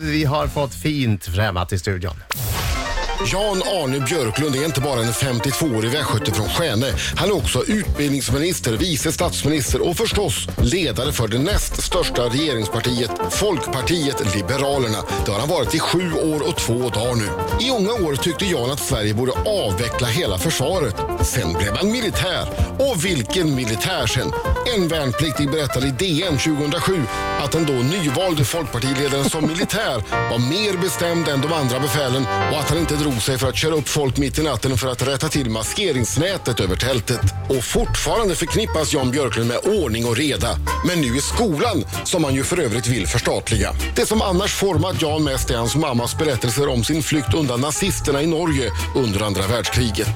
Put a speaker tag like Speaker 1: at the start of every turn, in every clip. Speaker 1: vi har fått fint främmat i studion.
Speaker 2: Jan Arne Björklund är inte bara en 52-årig västgöte från Skene. Han är också utbildningsminister, vice statsminister och förstås ledare för det näst största regeringspartiet, Folkpartiet Liberalerna. Det har han varit i sju år och två dagar nu. I unga år tyckte Jan att Sverige borde avveckla hela försvaret. Sen blev han militär. Och vilken militär sen! En värnpliktig berättade i DN 2007 att den då nyvalde folkpartiledaren som militär var mer bestämd än de andra befälen och att han inte drog sig för att köra upp folk mitt i natten för att rätta till maskeringsnätet över tältet. Och fortfarande förknippas Jan Björklund med ordning och reda. Men nu i skolan, som han ju för övrigt vill förstatliga. Det som annars format Jan mest är hans mammas berättelser om sin flykt undan nazisterna i Norge under andra världskriget.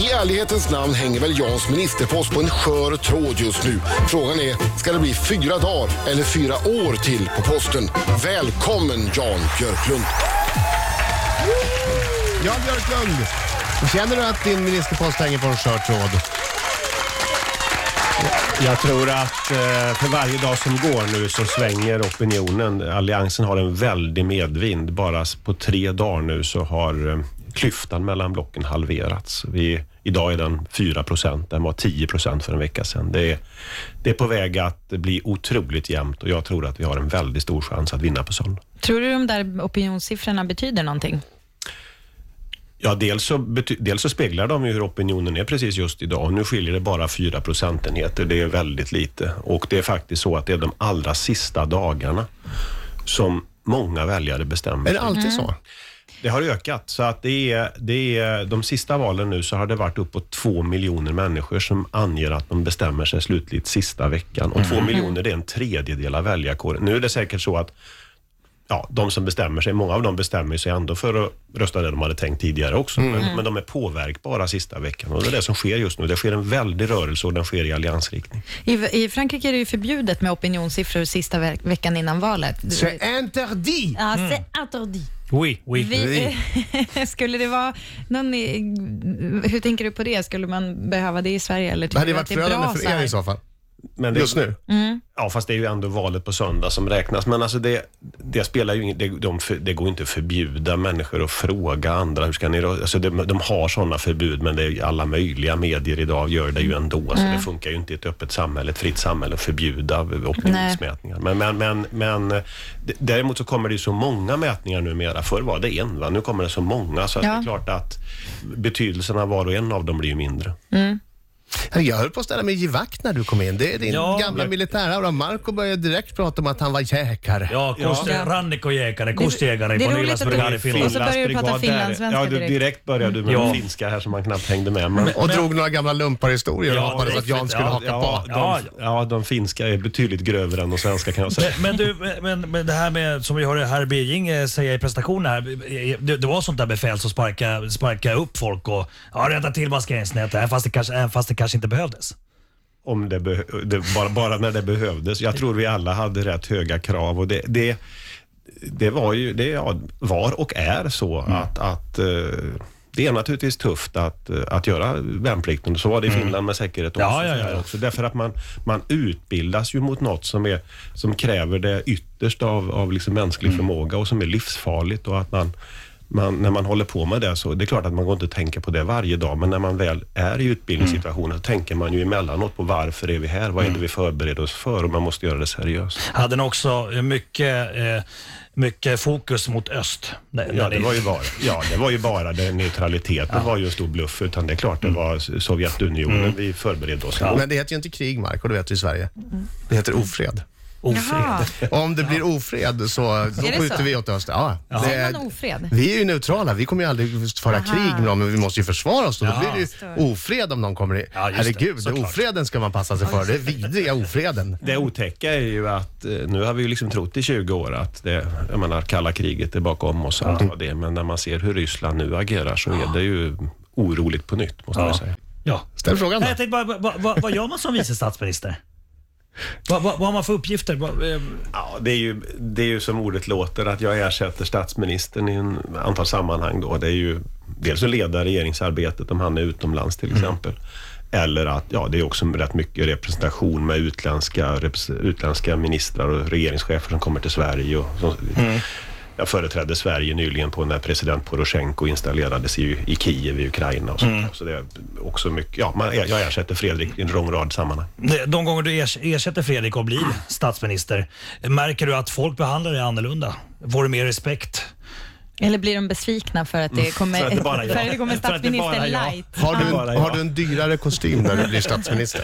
Speaker 2: I ärlighetens namn hänger väl Jans ministerpost på en skör tråd just nu. Frågan är, ska det bli fyra dagar eller fyra år till på posten? Välkommen Jan Björklund!
Speaker 1: Jan Björklund, känner du att din ministerpost hänger på en skör tråd?
Speaker 3: Jag tror att eh, för varje dag som går nu så svänger opinionen. Alliansen har en väldig medvind. Bara på tre dagar nu så har eh, klyftan mellan blocken halverats. Vi, idag är den 4 procent. Den var 10 procent för en vecka sedan. Det är, det är på väg att bli otroligt jämnt och jag tror att vi har en väldigt stor chans att vinna på sådana.
Speaker 4: Tror du de där opinionssiffrorna betyder någonting?
Speaker 3: Ja, dels så, bety- dels så speglar de ju hur opinionen är precis just idag. Nu skiljer det bara 4 procentenheter. Det är väldigt lite. Och det är faktiskt så att det är de allra sista dagarna som många väljare bestämmer.
Speaker 1: Är det alltid
Speaker 4: Mm.
Speaker 1: så?
Speaker 3: Det har ökat. Så att det är, det är, de sista valen nu så har det varit uppåt två miljoner människor som anger att de bestämmer sig slutligt sista veckan. Och två miljoner, det är en tredjedel av väljarkåren. Nu är det säkert så att ja, de som bestämmer sig, många av dem bestämmer sig ändå för att rösta det de hade tänkt tidigare också. Men, men de är påverkbara sista veckan och det är det som sker just nu. Det sker en väldig rörelse och den sker i alliansriktning.
Speaker 4: I, I Frankrike är det ju förbjudet med opinionssiffror sista ve- veckan innan valet. Du-
Speaker 1: C'est interdit!
Speaker 4: Ja, c'est interdit.
Speaker 5: Oui, oui.
Speaker 4: Vi, skulle det vara någon, i- hur tänker du på det? Skulle man behöva det i Sverige? Eller
Speaker 1: Det
Speaker 4: tycker
Speaker 1: hade
Speaker 4: du
Speaker 1: ju
Speaker 4: att
Speaker 1: varit
Speaker 4: det är bra
Speaker 1: förödande för er
Speaker 4: här?
Speaker 1: i så fall. Mm.
Speaker 3: Men det,
Speaker 1: Just nu.
Speaker 3: Ja, fast det är ju ändå valet på söndag som räknas. Men alltså det, det spelar ju ingen, det, de, för- det går inte att förbjuda människor att fråga andra. Hur ska ni, rö- alltså de, de har sådana förbud, men det är ju alla möjliga medier idag gör det ju ändå. Så det funkar ju inte i ett öppet samhälle, ett fritt samhälle, att förbjuda opinionsmätningar. Men, men, men, men eh, d- däremot så kommer det ju så många mätningar numera. Förr var det en, va? nu kommer det så många. Så att det
Speaker 4: Ja.
Speaker 3: är klart att betydelsen av var och en av dem blir ju mindre.
Speaker 1: Jag höll på att ställa mig givack när du kom in. Det är din
Speaker 5: Ja,
Speaker 1: gamla
Speaker 5: men-
Speaker 1: militäraura. Marco började direkt prata om att han var jäkare.
Speaker 5: Ja, kust,
Speaker 4: Ja.
Speaker 5: rannikkojägare,
Speaker 4: Det-
Speaker 5: kustjägare
Speaker 4: det är
Speaker 5: på
Speaker 4: roligt att
Speaker 5: Nylandsbryggan
Speaker 4: du-
Speaker 5: i Finland.
Speaker 4: Och så börjar du prata
Speaker 3: Finlands brigad där.
Speaker 4: finlandssvenska
Speaker 3: ja, du,
Speaker 4: direkt.
Speaker 3: direkt börjar du med
Speaker 5: Ja.
Speaker 3: den finska här som man knappt hängde med. Men,
Speaker 1: Och drog några gamla lumparhistorier och
Speaker 5: Ja,
Speaker 1: hoppades att Jan skulle
Speaker 5: ja,
Speaker 1: haka
Speaker 3: ja,
Speaker 1: på.
Speaker 5: Ja,
Speaker 3: de, ja, de finska är betydligt grövre än de svenska kan jag säga.
Speaker 5: Men, men du, men, men det här med som vi hörde herr Birging säga i presentationen här. Det, det var sånt där befäl som sparkade sparka upp folk och ja, rätta till maskeringsnätet även fast, det kanske, även fast det kanske inte behövdes.
Speaker 3: Om det behö- det, bara, bara när det behövdes. Jag tror vi alla hade rätt höga krav och det, det, det var ju, det ja, var och är så
Speaker 5: Mm.
Speaker 3: att, att eh, det är naturligtvis tufft att, eh, att göra värnplikten. Så var det i Finland med säkerhet
Speaker 5: Mm. Ja,
Speaker 3: också.
Speaker 5: ja,
Speaker 3: så här
Speaker 5: ja, ja.
Speaker 3: också. Därför att man, man utbildas ju mot något som, är, som kräver det yttersta av, av liksom mänsklig
Speaker 5: Mm.
Speaker 3: förmåga och som är livsfarligt. Och att man, man, när man håller på med det så, det är klart att man går inte och tänker på det varje dag, men när man väl är i utbildningssituationen
Speaker 5: Mm.
Speaker 3: så tänker man ju emellanåt på varför är vi här? Vad är det vi förbereder oss för? Och man måste göra det seriöst.
Speaker 5: Hade ni också mycket, eh, mycket fokus mot öst? Nej,
Speaker 3: Ja,
Speaker 5: nej,
Speaker 3: det
Speaker 5: nej.
Speaker 3: var ju bara, ja, det var ju bara den neutraliteten var ju en stor bluff, utan det är klart det var Sovjetunionen vi förberedde oss mot.
Speaker 1: Men det heter ju inte krig, Marco, det vet du i Sverige.
Speaker 4: Mm.
Speaker 1: Det heter ofred.
Speaker 5: ofred.
Speaker 4: Jaha,
Speaker 1: Och om det blir ofred så då
Speaker 4: det
Speaker 1: skjuter
Speaker 4: så?
Speaker 1: vi åt öster. Ja, det
Speaker 4: är
Speaker 1: är,
Speaker 4: man ofred?
Speaker 1: vi är ju neutrala. Vi kommer ju aldrig föra krig med någon, men vi måste ju försvara oss. Då, då
Speaker 5: Ja.
Speaker 1: blir det ju ofred om någon kommer i.
Speaker 5: Ja, just det.
Speaker 1: Herregud, det,
Speaker 5: Såklart.
Speaker 1: ofreden ska man passa sig för. Det är vidriga ofreden.
Speaker 3: Det otäcka är ju att eh, nu har vi ju liksom trott i 20 år att det, jag menar, kalla kriget är bakom oss och allt vad det är, men när man ser hur Ryssland nu agerar så är det ju oroligt på nytt, måste man ju säga.
Speaker 5: Ja.
Speaker 1: Ställ frågan
Speaker 5: Nej,
Speaker 1: då.
Speaker 5: jag tänkte bara, vad, vad, vad gör man som vice statsminister? Vad, vad, vad har man för uppgifter? Vad, eh,
Speaker 3: Ja, det är, ju, det är ju som ordet låter, att jag ersätter statsministern i en antal sammanhang. Då. Det är ju dels att leda regeringsarbetet om han är utomlands till exempel. Eller att, ja, det är också rätt mycket representation med utländska, repres- utländska ministrar och regeringschefer som kommer till Sverige. Och, som, Jag företrädde Sverige nyligen på när president Poroshenko installerades i, i Kiev i Ukraina. Och så, så det är också mycket, ja, man, jag ersätter Fredrik i en lång rad sammanhang.
Speaker 5: De gånger du ers- ersätter Fredrik och blir statsminister, märker du att folk behandlar dig annorlunda? Får du mer respekt?
Speaker 4: Eller blir de besvikna för
Speaker 1: Mm.
Speaker 4: att det kommer,
Speaker 3: För att det bara är jag.
Speaker 4: för att det kommer
Speaker 3: För att det bara är
Speaker 4: statsminister
Speaker 3: jag.
Speaker 4: light?
Speaker 1: Har du,
Speaker 3: Bara
Speaker 1: en,
Speaker 3: jag.
Speaker 1: har du en dyrare kostym när du blir statsminister?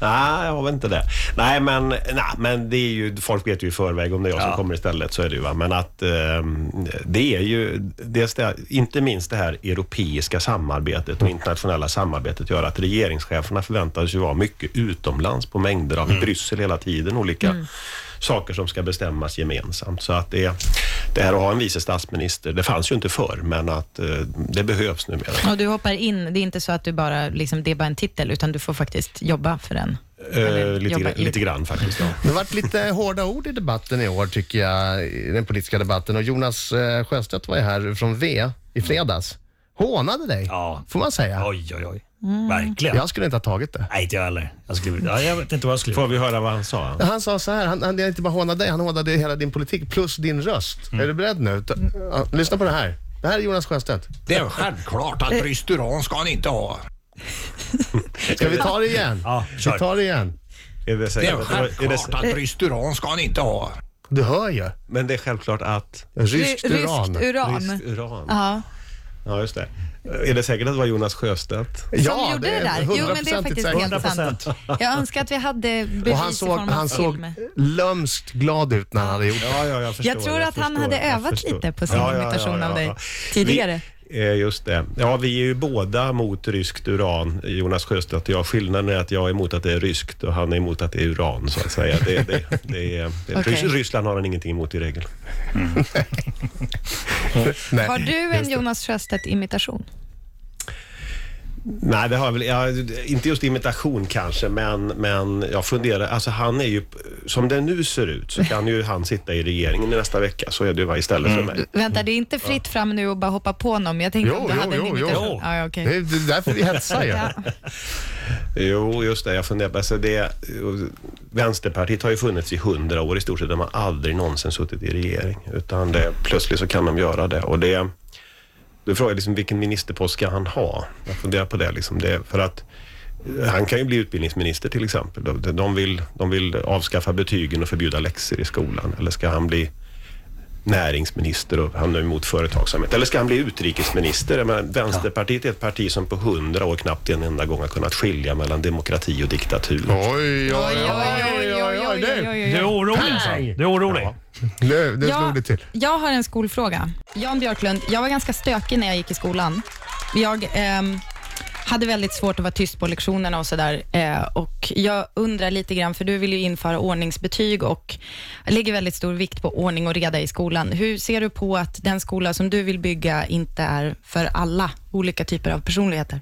Speaker 3: Nej, jag har väl inte det. Nej, men, nej, men det är ju, folk vet ju i förväg om det är jag som kommer istället. Så är det ju. Va? Men att ehm, det är ju, dels det, här- inte minst det här europeiska samarbetet och internationella samarbetet gör att regeringscheferna förväntas ju vara mycket utomlands på mängder av i Bryssel hela tiden. Olika saker som ska bestämmas gemensamt. Så att det, det här att ha en vice statsminister, det fanns ju inte förr, men att eh, det behövs numera.
Speaker 4: Och du hoppar in, det är inte så att du bara, liksom, det är bara en titel, utan du får faktiskt jobba för den. Eller
Speaker 3: Eh, lite,
Speaker 4: jobba
Speaker 3: grann,
Speaker 4: i-
Speaker 3: lite grann faktiskt. Ja.
Speaker 1: Det har varit lite hårda ord i debatten i år, tycker jag, i den politiska debatten. Och Jonas eh, Sjöstedt var ju här från V i fredags. Hånade dig,
Speaker 5: Ja.
Speaker 1: får man säga.
Speaker 5: Oj, oj, oj.
Speaker 4: Mm.
Speaker 5: Verkligen.
Speaker 1: Jag skulle inte ha tagit det.
Speaker 5: Nej, inte jag heller. Jag, skulle, ja, jag vet inte vad jag skulle...
Speaker 3: Får vi höra vad han sa?
Speaker 1: Han sa så här, han, han jag inte bara hånade dig, han hånade hela din politik plus din röst.
Speaker 5: Mm.
Speaker 1: Är du beredd nu? Ta, ja, lyssna på det här. Det här är Jonas Sjöstedt.
Speaker 6: Det är självklart att restaurang ska han inte ha.
Speaker 1: Ska vi ta det igen?
Speaker 5: Ja,
Speaker 1: vi
Speaker 5: kör.
Speaker 1: tar det igen.
Speaker 3: Är det,
Speaker 6: Det
Speaker 3: säkert-
Speaker 6: är
Speaker 3: är
Speaker 6: självklart
Speaker 3: det,
Speaker 6: att restaurang ska han inte ha.
Speaker 1: Du hör ju.
Speaker 3: men det är självklart att
Speaker 1: Ryskt
Speaker 4: Ry-
Speaker 1: uran.
Speaker 4: Ryskt uran.
Speaker 3: ryskt uran.
Speaker 4: Ja.
Speaker 3: Ja, just det. Är det säkert att det var Jonas Sjöstedt?
Speaker 4: Som gjorde det, där. Jo, men det är
Speaker 1: hundraprocentigt
Speaker 4: faktiskt
Speaker 1: säkert.
Speaker 4: helt sant. Jag önskar att vi hade bevis
Speaker 1: Och han
Speaker 4: i
Speaker 1: såg,
Speaker 4: form av
Speaker 1: han såg
Speaker 4: film.
Speaker 1: lömskt glad ut när han hade gjort det.
Speaker 3: Ja, ja, jag förstår.
Speaker 4: Jag tror att han
Speaker 3: förstår,
Speaker 4: hade
Speaker 3: jag
Speaker 4: övat
Speaker 3: förstår.
Speaker 4: lite på sin imitation av dig
Speaker 3: Vi-
Speaker 4: tidigare.
Speaker 3: eh, Just det. Ja, vi är ju båda mot ryskt uran, Jonas Sjöstedt och jag. Skillnaden är att jag är emot att det är ryskt och han är emot att det är uran, så att säga. Det, det, det är, det,
Speaker 4: Okej.
Speaker 3: Rys- Ryssland har han ingenting emot i regel.
Speaker 1: Nej.
Speaker 4: Har du en Jonas Sjöstedt-imitation?
Speaker 3: Nej, det har jag väl, ja, inte just imitation kanske, men, men jag funderar. Alltså han är ju, som det nu ser ut så kan ju han sitta i regeringen i nästa vecka. Så är det ju va, istället för mig.
Speaker 4: Vänta, det är inte fritt fram nu och bara hoppa på någon. men Jag tänkte
Speaker 1: Jo,
Speaker 4: om du
Speaker 1: jo,
Speaker 4: hade en
Speaker 1: jo,
Speaker 4: imitation.
Speaker 1: jo.
Speaker 4: Ja, ja, okej.
Speaker 1: Det är det är därför vi hetsar ju.
Speaker 4: Ja.
Speaker 3: Jo, just det. Jag funderar på alltså det. Vänsterpartiet har ju funnits i hundra år i stort sett. De har aldrig någonsin suttit i regering. Utan det, plötsligt så kan de göra det. Och det du frågar liksom vilken ministerpost ska han ha? Jag funderar på det. Liksom. det för att eh, han kan ju bli utbildningsminister till exempel. De, de, vill, de vill avskaffa betygen och förbjuda läxor i skolan. Eller ska han bli näringsminister och han är emot företagsamhet. Eller ska han bli utrikesminister? Jag menar, Vänsterpartiet är ett parti som på hundra år knappt en enda gång har kunnat skilja mellan demokrati och diktatur.
Speaker 1: Oj, oj,
Speaker 4: Oj, oj, oj, oj, oj, oj,
Speaker 1: nu.
Speaker 4: oj,
Speaker 5: Du
Speaker 4: oj.
Speaker 5: är orolig alltså? Du är orolig?
Speaker 1: Nu, nu
Speaker 4: Jag,
Speaker 1: slog det till.
Speaker 4: jag har en skolfråga. Jan Björklund, jag var ganska stökig när jag gick i skolan. Jag ehm, hade väldigt svårt att vara tyst på lektionerna och sådär. Eh, och jag undrar lite grann, för du vill ju införa ordningsbetyg och lägger väldigt stor vikt på ordning och reda i skolan. Hur ser du på att den skola som du vill bygga inte är för alla olika typer av personligheter?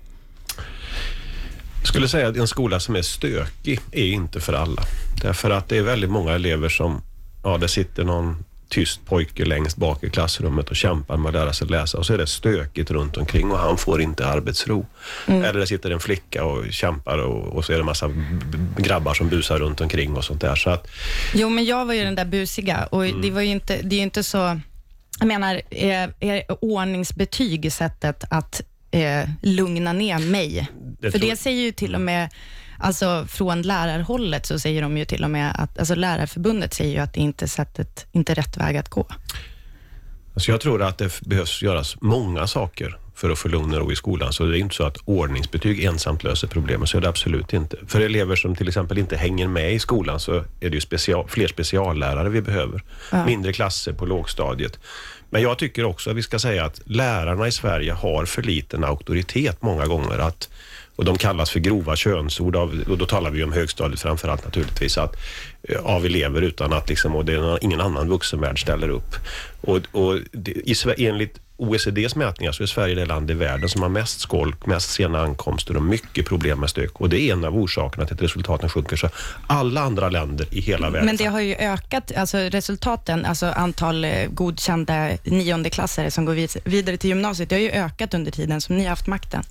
Speaker 3: Jag skulle säga att en skola som är stökig är inte för alla. Därför att det är väldigt många elever som, ja, det sitter någon tyst pojke längst bak i klassrummet och kämpar med att lära sig läsa och så är det stökigt runt omkring och han får inte arbetsro. Eller det sitter en flicka och kämpar och, och så är det en massa b- b- grabbar som busar runt omkring och sånt där. Så att,
Speaker 4: Jo, men jag var ju den där busiga och
Speaker 3: Mm.
Speaker 4: det var ju inte, det är ju inte så... Jag menar, eh, är, är ordningsbetyg sättet att eh, lugna ner mig?
Speaker 3: Det
Speaker 4: För
Speaker 3: tror-
Speaker 4: det säger ju till och med, alltså från lärarhållet så säger de ju till och med att, alltså Lärarförbundet säger ju att det inte är sättet, inte rätt väg att gå.
Speaker 3: Alltså jag tror att det f- behövs göras många saker för att få lugn och ro i skolan. Så det är inte så att ordningsbetyg ensamt löser problemen, så är det absolut inte. För elever som till exempel inte hänger med i skolan så är det ju special, fler speciallärare vi behöver. Mindre klasser på lågstadiet. Men jag tycker också att vi ska säga att lärarna i Sverige har för liten auktoritet många gånger. Att, och de kallas för grova könsord, av, och då talar vi ju om högstadiet framför allt naturligtvis, att, eh, av elever utan att liksom, och det är någon- ingen annan vuxenvärld ställer upp. Och, och det, i, Sve- enligt OECDs mätningar så är Sverige det land i världen som har mest skolk, mest sena ankomster och mycket problem med stök. Och det är en av orsakerna till att resultaten sjunker. Så alla andra länder i hela världen
Speaker 4: Men det har ju ökat, alltså resultaten, alltså antal eh, godkända niondeklassare som går vid, vidare till gymnasiet, det har ju ökat under tiden som ni har haft makten.
Speaker 3: Ja,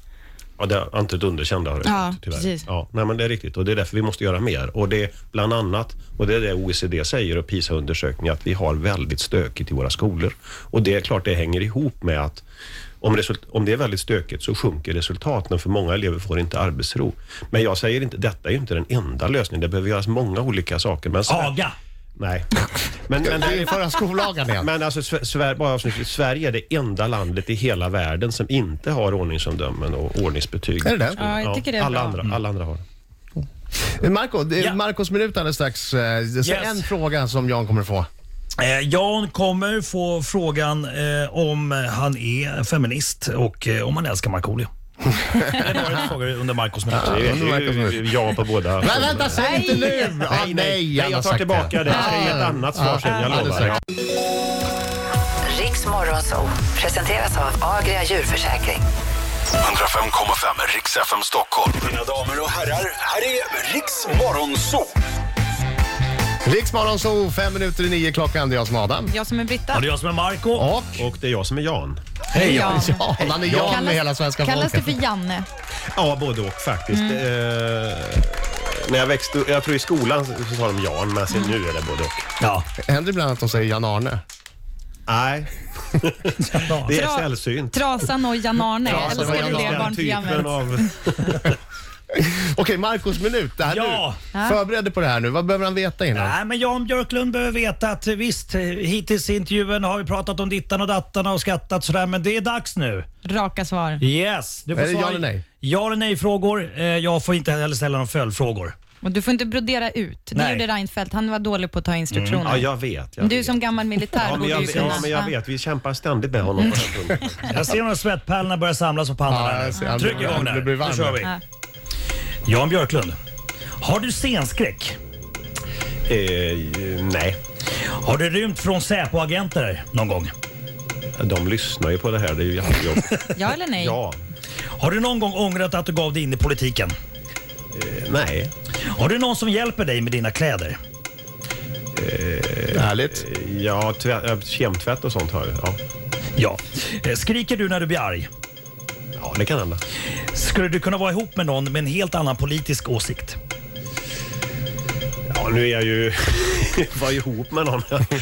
Speaker 3: Ja, det har inte ett underkänd har det
Speaker 4: Ja,
Speaker 3: fått, tyvärr.
Speaker 4: precis.
Speaker 3: Ja, nej, men det är riktigt och det är därför vi måste göra mer. Och det är bland annat, och det är det OECD säger och PISA-undersökningar, att vi har väldigt stökigt i våra skolor. Och det är klart det hänger ihop med att om, result- om det är väldigt stökigt så sjunker resultaten för många elever får inte arbetsro. Men jag säger inte, detta är ju inte den enda lösningen. Det behöver göras många olika saker. Men så här-
Speaker 5: Aga!
Speaker 3: Nej. Men, men det är
Speaker 1: Införa skollagen igen.
Speaker 3: men alltså, Sve- Sver- bara avslutningsvis, Sverige är det enda landet i hela världen som inte har ordningsomdömen och ordningsbetyg.
Speaker 1: Är det Mm. det?
Speaker 4: Ja, jag tycker det är
Speaker 3: alla,
Speaker 4: bra.
Speaker 3: andra, alla andra har.
Speaker 1: Marco, det är
Speaker 5: Ja.
Speaker 1: Marcos minut alldeles strax. Eh, Så
Speaker 5: Yes.
Speaker 1: en fråga som Jan kommer få.
Speaker 5: Eh, Jan kommer få frågan eh, om han är feminist och eh, om han älskar Markoolio. det var en fråga under Marcos minut.
Speaker 3: Det
Speaker 1: det
Speaker 3: är
Speaker 1: verkar som
Speaker 3: ju ja på båda.
Speaker 1: Men vänta, säg inte nu! Ah, nej, han har
Speaker 3: jag tar
Speaker 1: sagt
Speaker 3: tillbaka det. Jag ska ge ett annat svar sen, jag
Speaker 1: Ja, det är
Speaker 3: lovar.
Speaker 1: säkert.
Speaker 7: Riks Morgonzoo presenteras av Agria djurförsäkring.
Speaker 8: 105,5 Riks FM Stockholm. Mina damer och herrar, här är Riks Morgonzoo.
Speaker 1: Riksmorgon så fem minuter i nio klockan. Det är jag som är Adam.
Speaker 4: Jag som är Britta.
Speaker 5: Och det är jag som är Marco.
Speaker 1: Och
Speaker 3: Och det är jag som är Jan.
Speaker 4: Hej Jan.
Speaker 1: ja, han är Jan med hela svenska
Speaker 4: kallas
Speaker 1: folket.
Speaker 4: det för Janne?
Speaker 3: Ja, både och faktiskt.
Speaker 4: Mm.
Speaker 3: Eh, när jag växte upp, jag tror i skolan så sa de Jan, men sen nu är det både och.
Speaker 5: Ja.
Speaker 1: Händer ibland att de säger Jan-Arne?
Speaker 3: Nej, det är
Speaker 4: Tra-
Speaker 3: sällsynt.
Speaker 4: Trasan och Jan-Arne,
Speaker 1: Trasan
Speaker 4: eller
Speaker 1: och
Speaker 4: ska det
Speaker 1: Jan-Arne,
Speaker 4: det barnprogrammet?
Speaker 3: typen av...
Speaker 1: Okej, Marcos minut. Det här
Speaker 5: Ja.
Speaker 1: nu. Förbered dig på det här nu. Vad behöver han veta innan?
Speaker 5: Nej, men Jan Björklund behöver veta att eh, visst, eh, hittills i intervjun har vi pratat om dittan och dattan och skattat sådär, men det är dags nu.
Speaker 4: Raka svar.
Speaker 5: Yes. Du
Speaker 1: Är det
Speaker 5: svara
Speaker 1: ja eller nej?
Speaker 5: Ja eller nej-frågor. Eh, Jag får inte heller ställa några följdfrågor.
Speaker 4: Och du får inte brodera ut. Det
Speaker 5: Nej.
Speaker 4: gjorde Reinfeldt. Han var dålig på att ta instruktioner.
Speaker 3: Ja, jag vet. Jag
Speaker 4: Men Du
Speaker 3: vet.
Speaker 4: som gammal militär
Speaker 3: Ja men,
Speaker 4: borde
Speaker 3: jag,
Speaker 4: ju kunna...
Speaker 3: ja, men jag vet. Vi kämpar ständigt med honom på den punkten.
Speaker 5: Jag ser några svettpärlorna börja samlas på pannan.
Speaker 1: Ja,
Speaker 5: här.
Speaker 1: jag ser- han
Speaker 5: Tryck
Speaker 1: blir-
Speaker 5: igång
Speaker 1: han
Speaker 5: där.
Speaker 1: blir varm
Speaker 5: Nu kör vi.
Speaker 4: här.
Speaker 5: Jan Björklund. Har du scenskräck?
Speaker 3: Eh, nej,
Speaker 5: Har du rymt från Säpo-agenter någon gång?
Speaker 3: de lyssnar ju på det här. Det är ju jättejobbigt.
Speaker 4: Ja. ja eller nej?
Speaker 3: Ja,
Speaker 5: Har du någon gång ångrat att du gav dig in i politiken?
Speaker 3: eh, nej,
Speaker 5: Har du någon som hjälper dig med dina kläder?
Speaker 1: Härligt.
Speaker 3: ja, tvä- ja, kemtvätt och sånt har jag. Ja.
Speaker 5: Ja. Eh, Skriker du när du blir arg?
Speaker 3: ja, det kan hända.
Speaker 5: Skulle du kunna vara ihop med någon med en helt annan politisk åsikt?
Speaker 3: Ja, nu är jag ju var ihop med någon.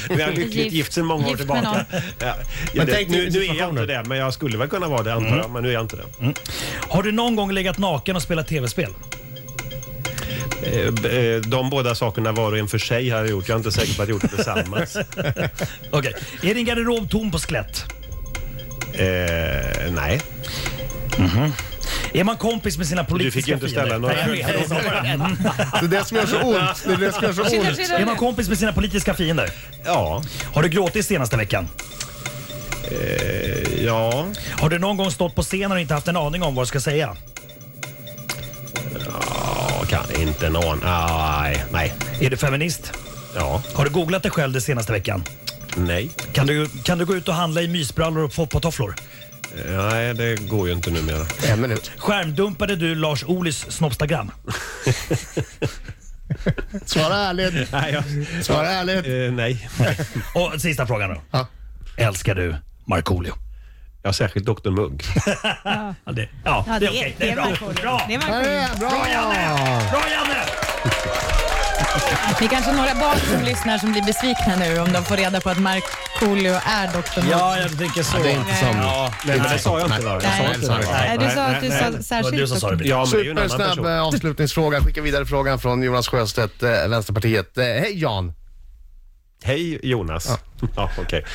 Speaker 3: Nu är jag lyckligt
Speaker 4: Gift-
Speaker 3: gift sedan många år
Speaker 4: gift med
Speaker 3: tillbaka.
Speaker 4: någon.
Speaker 3: Ja, ja,
Speaker 1: Men
Speaker 3: det,
Speaker 1: tänk dig
Speaker 3: nu, nu är jag
Speaker 1: situationen. Mm.
Speaker 3: inte det, men jag skulle väl kunna vara det antar jag. Men nu är jag inte det.
Speaker 5: Har du någon gång legat naken och spelat tv-spel?
Speaker 3: Eh, b- eh, De båda sakerna var och en för sig har jag gjort. Jag är inte säker på att jag gjort det tillsammans.
Speaker 5: Okej. Är din garderob tom på skelett?
Speaker 3: Eh, nej.
Speaker 5: Är man kompis med sina
Speaker 3: Du
Speaker 5: politiska
Speaker 3: fick ju inte
Speaker 5: fiender?
Speaker 3: ställa några
Speaker 5: Nej, jag vet.
Speaker 1: Det är det som gör så ont. Det är det som gör så ont.
Speaker 5: Är man kompis med sina politiska fiender?
Speaker 3: Ja.
Speaker 5: Har du gråtit senaste veckan?
Speaker 3: Eh, ja.
Speaker 5: Har du någon gång stått på scenen och inte haft en aning om vad du ska säga?
Speaker 3: Ja, kan inte någon. Ah, Nej. Nej.
Speaker 5: Är du feminist?
Speaker 3: Ja.
Speaker 5: Har du googlat dig själv den senaste veckan?
Speaker 3: Nej.
Speaker 5: Kan du, kan du gå ut och handla i mysbrallor och få på tofflor?
Speaker 3: Eh, Nej, det går ju inte numera.
Speaker 1: En minut.
Speaker 5: Skärmdumpade du Lars Ohlys snoppstagram?
Speaker 1: Svara ärligt.
Speaker 3: Nej, jag,
Speaker 1: Svara ärligt.
Speaker 3: eh, nej.
Speaker 5: Och sista frågan då.
Speaker 1: Ja.
Speaker 5: Älskar du Markoolio?
Speaker 3: Ja, särskilt Dr Mugg.
Speaker 5: Ja, det, ja,
Speaker 4: Ja,
Speaker 5: det är okej. Det är bra.
Speaker 4: Markoolio.
Speaker 5: Bra,
Speaker 4: Det är
Speaker 1: Ja, det
Speaker 4: Markoolio.
Speaker 1: är Bra!
Speaker 5: bra Janne!
Speaker 4: Det är kanske några barn som lyssnar som blir besvikna nu om de får reda på att Markoolio är doktorn.
Speaker 5: Ja, jag tänker så.
Speaker 1: Det är inte som...
Speaker 5: Ja,
Speaker 3: Nej, men det sa jag inte. Va? Jag sa
Speaker 4: Nej.
Speaker 3: inte det.
Speaker 4: Nej, du sa att du
Speaker 5: nej,
Speaker 4: sa
Speaker 5: nej.
Speaker 4: särskilt
Speaker 5: Du som sa det,
Speaker 4: doktorn.
Speaker 5: Britta.
Speaker 3: Ja, men det är ju en annan
Speaker 1: Supersnabb
Speaker 3: person.
Speaker 1: eh, avslutningsfråga. Skicka vidare frågan från Jonas Sjöstedt, eh, Vänsterpartiet. Eh, Hej Jan!
Speaker 3: Hej Jonas. Ja, okej.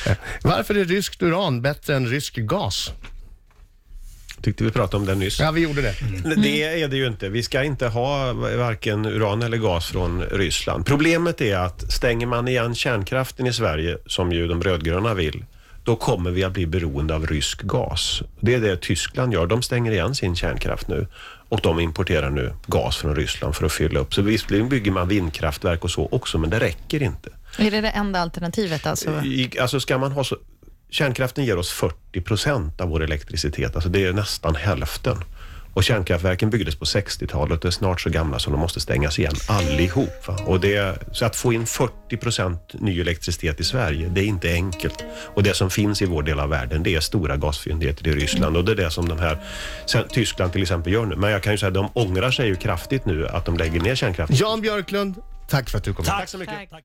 Speaker 1: Varför är ryskt uran bättre än rysk gas?
Speaker 3: Tyckte vi pratade om det nyss.
Speaker 1: Ja, vi gjorde det.
Speaker 3: Det är det ju inte. Vi ska inte ha varken uran eller gas från Ryssland. Problemet är att stänger man igen kärnkraften i Sverige, som ju de rödgröna vill, då kommer vi att bli beroende av rysk gas. Det är det Tyskland gör. De stänger igen sin kärnkraft nu och de importerar nu gas från Ryssland för att fylla upp. Så visserligen bygger man vindkraftverk och så också, men det räcker inte.
Speaker 4: Är det det enda alternativet alltså?
Speaker 3: I, alltså ska man ha så, kärnkraften ger oss 40 procent av vår elektricitet, alltså det är nästan hälften. Och kärnkraftverken byggdes på 60-talet och är snart så gamla så de måste stängas igen allihop. Va? Och det, så att få in 40 procent ny elektricitet i Sverige, det är inte enkelt. Och det som finns i vår del av världen, det är stora gasfyndigheter i Ryssland och det är det som de här, sen- Tyskland till exempel gör nu. Men jag kan ju säga, de ångrar sig ju kraftigt nu att de lägger ner kärnkraftverk.
Speaker 1: Jan Björklund, tack för att du kom hit.
Speaker 5: Tack så mycket. Tack.